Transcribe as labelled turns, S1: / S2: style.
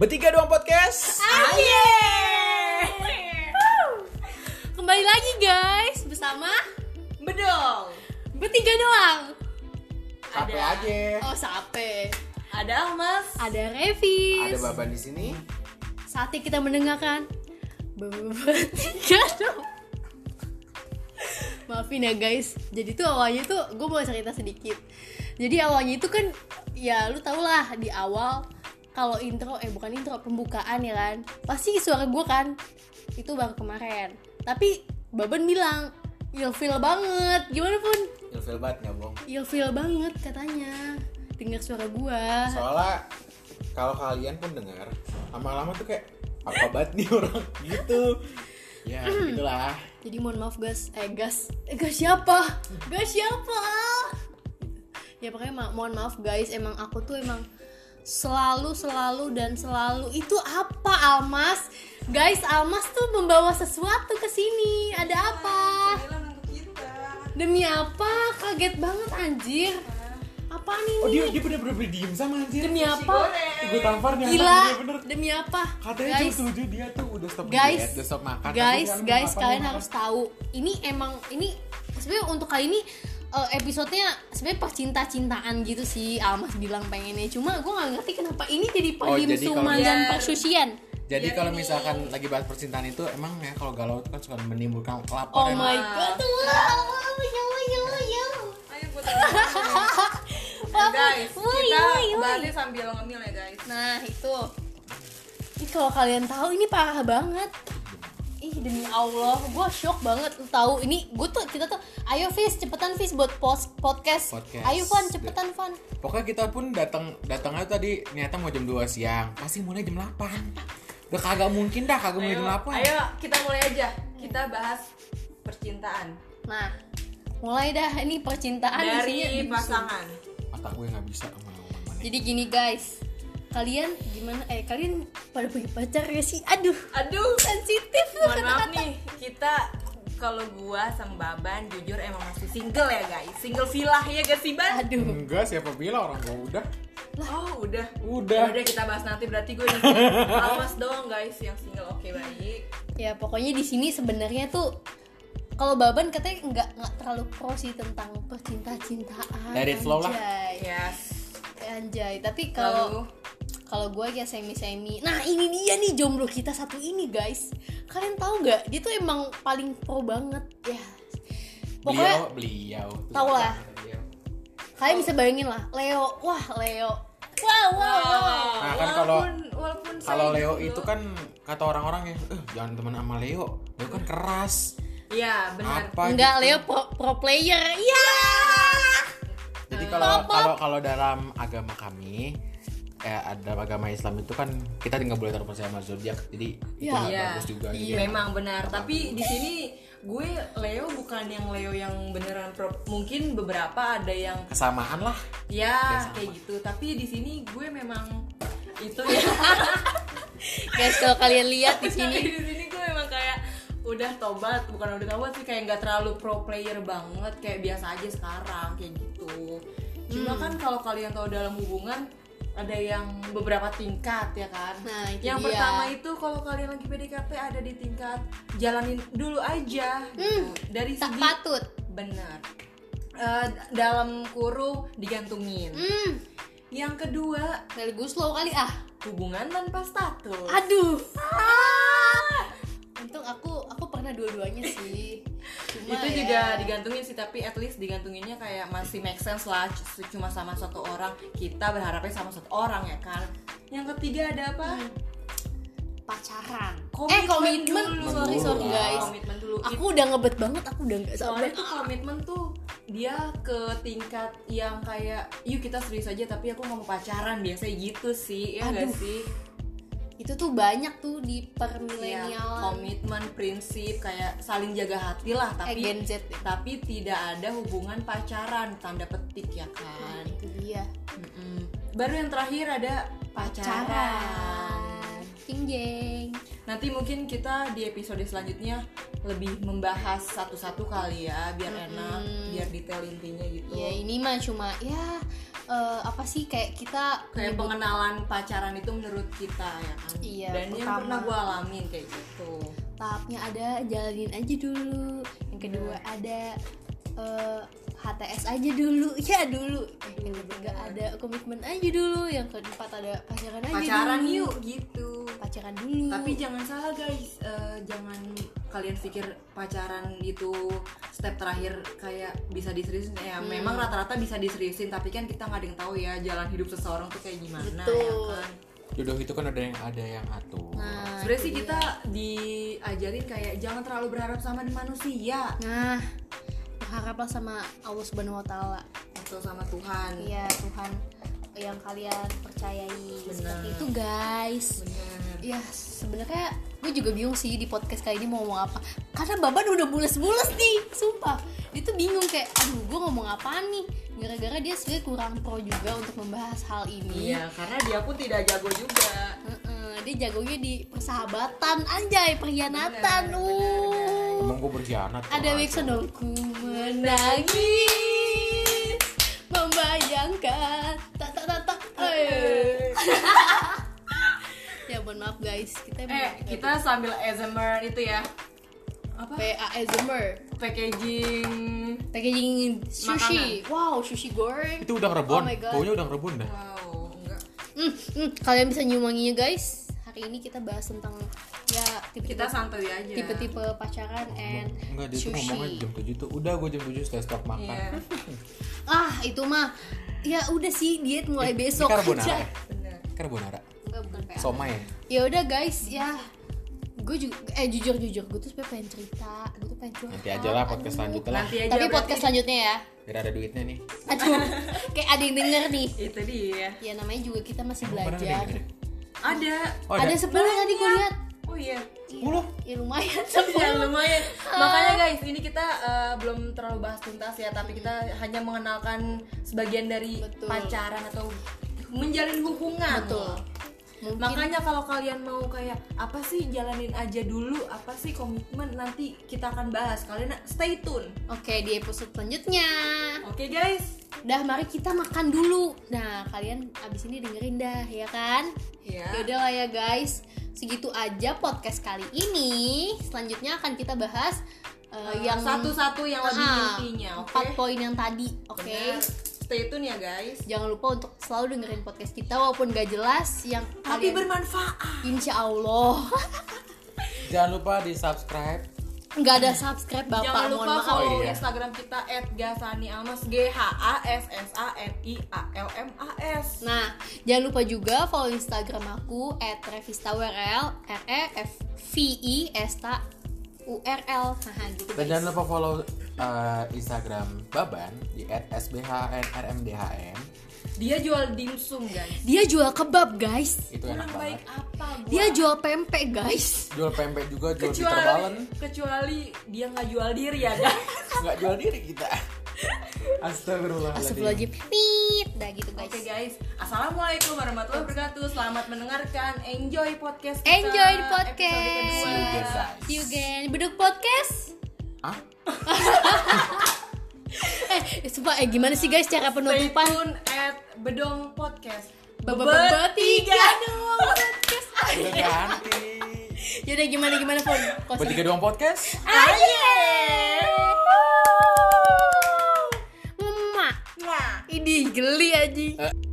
S1: Bertiga doang podcast.
S2: Aye. Kembali lagi guys bersama
S3: Bedong.
S2: bertiga doang.
S1: Sampai
S3: Ada.
S1: aja.
S2: Oh sape.
S3: Ada Mas.
S2: Ada
S1: Ada
S2: Revis.
S1: baban di sini.
S2: Saatnya kita mendengarkan bertiga doang. Maafin ya guys. Jadi tuh awalnya tuh gue mau cerita sedikit. Jadi awalnya itu kan ya lu tau lah di awal kalau intro eh bukan intro pembukaan ya kan pasti suara gue kan itu baru kemarin tapi Baban bilang ilfil banget gimana pun
S1: Ilfil banget nggak bohong.
S2: ilfil banget katanya dengar suara gua
S1: Soalnya kalau kalian pun dengar, lama-lama tuh kayak apa banget nih orang gitu. Ya, gitulah.
S2: jadi mohon maaf guys eh gas eh, gas siapa gas siapa ya pokoknya ma- mohon maaf guys emang aku tuh emang selalu selalu dan selalu itu apa Almas guys Almas tuh membawa sesuatu ke sini ada apa
S3: untuk kita.
S2: demi apa kaget banget anjir apa nih
S1: Oh, dia dia bener-bener diem sama anjir.
S2: demi apa
S1: Gue tampar nih anak,
S2: gila
S1: bener-bener.
S2: demi apa
S1: Katanya jam
S2: guys
S1: 7 dia tuh udah stop
S2: guys
S1: diet, udah stop Iya, makan. Tapi
S2: guys
S1: kan
S2: guys
S1: kenapa
S2: kalian
S1: nih?
S2: harus tahu ini emang ini sebenarnya untuk kali ini eh, episodenya sebenarnya percinta cintaan gitu sih Almas bilang pengennya cuma gue nggak ngerti kenapa ini jadi
S1: Oh, jadi
S2: perhimsuman
S1: kalau-
S2: dan
S3: Biar-
S2: persusian
S1: Jadi
S2: Iya,
S3: Biar
S1: kalau
S3: ini-
S1: misalkan lagi bahas percintaan itu emang ya kalau galau itu kan suka menimbulkan
S2: oh
S1: kelaparan.
S2: my god
S1: Iya.
S2: wow, ya, ya, ya.
S3: Ayo buat teman-teman.
S2: Wow,
S3: guys,
S2: wow,
S3: kita
S2: wow, wow.
S3: bahasnya sambil ngemil ya guys.
S2: nah itu ini kalau kalian tahu ini parah banget ih demi Allah gue shock banget lu tahu ini gue tuh kita tuh ayo Fis cepetan Fis buat post podcast,
S1: Podcast.
S2: ayo Van cepetan Van
S1: Pokoknya kita pun datang datangnya tadi niatnya mau jam 2 siang, pasti mulai jam 8. Udah kagak mungkin dah kagak mulai
S3: Ayo,
S1: jam 8.
S3: ayo kita mulai aja. Kita bahas percintaan
S2: Nah, mulai dah ini
S3: Ah,
S2: percintaan isinya
S3: dari
S2: dimsum.
S3: pasangan.
S1: Mata gue nggak bisa sama omongan ini.
S2: Jadi gini guys, kalian gimana? Eh kalian pada punya pacar gak sih? Aduh,
S3: Aduh,
S2: sensitif tuh
S3: mohon
S2: kata-kata.
S3: maaf nih. Kita kalau gua sama Baban jujur emang masih single ya guys. Single villa ya gak sih Ban?
S2: Aduh,
S1: Enggak, siapa bilang orang gue udah.
S3: Oh, udah.
S1: Udah.
S3: Udah kita bahas nanti berarti gue di Almas doang guys yang single. Oke, baik.
S2: ya pokoknya di sini sebenarnya tuh kalau Baban katanya nggak nggak terlalu pro sih tentang percinta cintaan.
S1: Let it flow lah.
S2: anjay.
S3: Yes.
S2: Anjay, tapi kalau
S3: Lalu?
S2: kalau gue ya semi semi. Nah ini dia nih jomblo kita satu ini guys. Kalian tahu nggak? Dia tuh emang paling pro banget ya. Pokoknya
S1: beliau, beliau. Terus
S2: Tahu
S1: apa
S2: lah.
S1: kata beliau?
S2: Kalian bisa bayangin lah, Leo. Wah, Leo. Wow, wow, wow.
S1: Nah, kan kalau-
S3: Walaupun- walaupun saya
S1: Kalau Leo
S3: jomblo.
S1: itu kan kata orang-orang yang eh, jangan teman sama Leo. Leo kan keras.
S3: Iya, benar.
S1: Apa?
S2: Enggak,
S1: gitu.
S2: Leo pro, pro player. Iya.
S1: Jadi kalau
S2: Pop, pop.
S1: kalau kalau dalam agama kami eh ada agama Islam itu kan kita nggak boleh terpercaya sama zodiak jadi itu
S2: Iya.
S1: nggak
S3: Iya.
S1: bagus juga
S3: Iya,
S1: gitu.
S3: memang benar. Tapi di sini gue Leo bukan yang Leo yang beneran pro. Mungkin beberapa ada yang
S1: kesamaan lah
S3: ya kayak gitu. Tapi di sini gue memang itu ya.
S2: Guys, kalau kalian lihat di
S3: Tapi
S2: sini
S3: di sini gue memang kayak udah tobat, bukan udah tobat sih kayak nggak terlalu pro player banget kayak biasa aja sekarang kayak gitu. Cuma
S2: Hmm.
S3: kan kalau kalian tahu dalam hubungan ada yang beberapa tingkat ya kan.
S2: Nah, itu
S3: yang
S2: dia.
S3: pertama itu kalau kalian lagi PDKT ada di tingkat jalanin dulu aja gitu.
S2: Hmm,
S3: Dari
S2: tak
S3: segi
S2: patut.
S3: benar. Eh, dalam kurung digantungin.
S2: Hmm,
S3: Yang kedua,
S2: dari slow kali ah.
S3: hubungan tanpa status.
S2: Aduh. Ah, Untung aku aku pernah dua-duanya sih. Cuma
S3: itu
S2: ya,
S3: juga digantungin sih tapi at least digantunginnya kayak masih make sense lah c- cuma sama satu orang kita berharapnya sama satu orang ya kan yang ketiga ada apa
S2: pacaran. Hmm.
S3: Komitmen
S2: eh, komitmen.
S3: dulu.
S2: Sorry, sorry
S1: Dulu.
S2: guys.
S3: komitmen dulu
S2: Aku udah ngebet banget, aku udah nggak sabar.
S3: soalnya tuh komitmen tuh dia ke tingkat yang kayak yuk kita serius aja tapi aku mau pacaran biasanya gitu sih ya nggak
S2: Aduh.
S3: sih
S2: Itu tuh banyak tuh di per
S3: Iya,
S2: milenial.
S3: komitmen prinsip kayak saling jaga hati lah
S2: eh,
S3: tapi
S2: Gen Z.
S3: tapi tidak ada hubungan pacaran tanda petik ya kan
S2: Itu dia.
S3: Mm-mm. Baru yang terakhir ada pacaran.
S2: Jeng jeng.
S3: Nanti mungkin kita di episode selanjutnya lebih membahas
S2: Iya,
S3: satu-satu kali ya, biar enak, biar detail intinya gitu.
S2: Ya ini mah cuma ya eh, apa sih kayak kita
S3: kayak pengenalan pacaran itu menurut kita ya kan
S2: Iya,
S3: dan yang
S2: pertama.
S3: pernah gue alamin kayak gitu
S2: tahapnya ada jalanin aja dulu yang kedua
S3: Iya.
S2: ada eh, HTS aja dulu ya dulu yang ketiga ada komitmen aja dulu yang keempat ada pacaran aja
S3: pacaran
S2: dulu.
S3: yuk gitu
S2: pacaran dulu
S3: tapi jangan salah guys Eh, jangan kalian pikir pacaran itu step terakhir kayak bisa diseriusin ya memang rata-rata bisa diseriusin tapi kan kita nggak ada yang tahu ya jalan hidup seseorang tuh kayak gimana ya
S2: Betul.
S3: kan
S1: jodoh itu kan ada yang ada yang atur
S2: nah,
S3: sebenarnya sih kita diajarin kayak jangan terlalu berharap sama manusia
S2: nah berharaplah sama Allah Subhanahu Wa Taala
S3: atau sama Tuhan
S2: ya Tuhan yang kalian percayai seperti
S3: Benar.
S2: itu guys
S3: bener
S2: ya sebenarnya gue juga bingung sih di podcast kali ini mau ngomong apa karena baban udah bules-bules nih sumpah dia tuh bingung kayak aduh gue ngomong apa nih gara-gara dia sebenarnya kurang pro juga untuk membahas hal ini
S3: Iya, karena dia pun tidak jago juga.
S2: Heeh, dia jagonya di persahabatan anjay perhianatan
S3: Benar,
S2: uh
S1: emang gue berkhianat
S2: ada
S1: Mas.
S2: Wixon dong ku menangis membayangkan tak tak tak tak eh. ya mohon maaf guys kita
S3: Eh, kita sambil ASMR itu ya. Apa?
S2: PA Zoomer
S3: Packaging.
S2: packaging sushi wow sushi goreng
S1: itu udah ngerebon
S2: Oh my God.
S1: baunya udah ngerebon dah
S3: Wow, enggak.
S2: Hmm, hmm, kalian bisa nyium wanginya guys hari ini kita bahas tentang ya tipe-tipe
S3: Kita Ya. santuy aja.
S2: tipe-tipe pacaran and
S1: Enggak, dia tuh ngomongnya
S2: sushi
S1: jam 7 tuh Udah gue jam 7 sudah stop makan
S3: Iya,
S2: ah itu mah ya udah sih diet mulai
S1: Eh, Ini
S2: besok
S1: carbonara
S2: aja
S1: ya?
S3: bener.
S1: Carbonara
S2: enggak bukan PA
S1: Somai ya?
S2: ya udah guys ya gue juga eh jujur jujur gue tuh sebenernya pengen cerita gue tuh pengen curhat
S1: Nanti aja lah podcast
S2: aduh.
S1: selanjutnya lah
S3: Nanti aja.
S2: tapi
S3: berarti.
S2: podcast selanjutnya ya
S1: Biar ada duitnya nih
S2: aduh kayak ada yang denger nih
S3: itu dia.
S2: ya namanya juga kita masih
S1: Emang pernah
S2: belajar
S1: ada yang
S3: Ada.
S1: Oh,
S2: ada 10 tadi gue lihat
S3: Oh iya.
S1: Mulu.
S2: ya lumayan
S3: Ya lumayan. Makanya guys, ini kita eh, belum terlalu bahas tuntas ya, tapi kita hanya mengenalkan sebagian dari
S2: Betul.
S3: pacaran atau menjalin hubungan.
S2: Betul. Mungkin-
S3: Makanya kalau kalian mau kayak apa sih jalanin aja dulu, apa sih komitmen nanti kita akan bahas. Kalian stay tune.
S2: oke di episode selanjutnya
S3: Oke guys.
S2: dah mari kita makan dulu nah kalian abis ini dengerin dah ya kan
S3: Ya.
S2: Yaudah lah ya guys, segitu aja podcast kali ini. Selanjutnya akan kita bahas uh,
S3: Eh,
S2: yang
S3: satu-satu yang lebih
S2: Ah,
S3: intinya, oke?
S2: Empat poin yang tadi, oke?
S3: Benar. Stay tune ya guys.
S2: Jangan lupa untuk selalu dengerin podcast kita walaupun gak jelas yang
S3: Tapi
S2: kalian-
S3: bermanfaat.
S2: Insya Allah
S1: Jangan lupa di subscribe
S2: nggak ada subscribe bapak
S3: Jangan lupa
S2: mohon maaf.
S3: follow
S1: Oh, iya.
S3: Instagram kita @gasanialmas g h a s s a n i a l m a s.
S2: Nah jangan lupa juga follow Instagram aku @revistawrl r e f v i s t u r l haha gitu
S1: Dan jangan
S2: guys.
S1: lupa follow eh, Instagram Baban Di @sbhnrmdhm
S3: Dia jual dimsum guys.
S2: Dia jual kebab guys.
S1: Itu enak
S3: Kurang
S1: banget
S3: baik apa gua?
S2: Dia jual pempek guys.
S1: Jual pempek juga, jual Peter Balen
S3: kecuali kecuali dia nggak jual diri ya guys.
S1: Nggak jual diri kita Astagfirullahaladzim
S2: Astagfirullahaladzim Pit Dah gitu guys
S3: Oke guys, assalamualaikum warahmatullahi wabarakatuh. Selamat mendengarkan, enjoy podcast. Kita,
S2: Enjoy the podcast.
S3: episode
S1: See you
S3: kedua.
S1: again, guys.
S2: See you again Beduk Podcast
S1: Hah?
S2: Eh sumpah eh gimana sih guys cara
S3: Stay
S2: penutupan
S3: tune at Bedong Podcast.
S2: Bebebebetiga.
S3: Podcast.
S1: Udah ganti
S2: Yaudah gimana gimana pun Closing.
S1: Bertiga doang podcast
S2: Emak
S3: Nah.
S2: Ini geli aja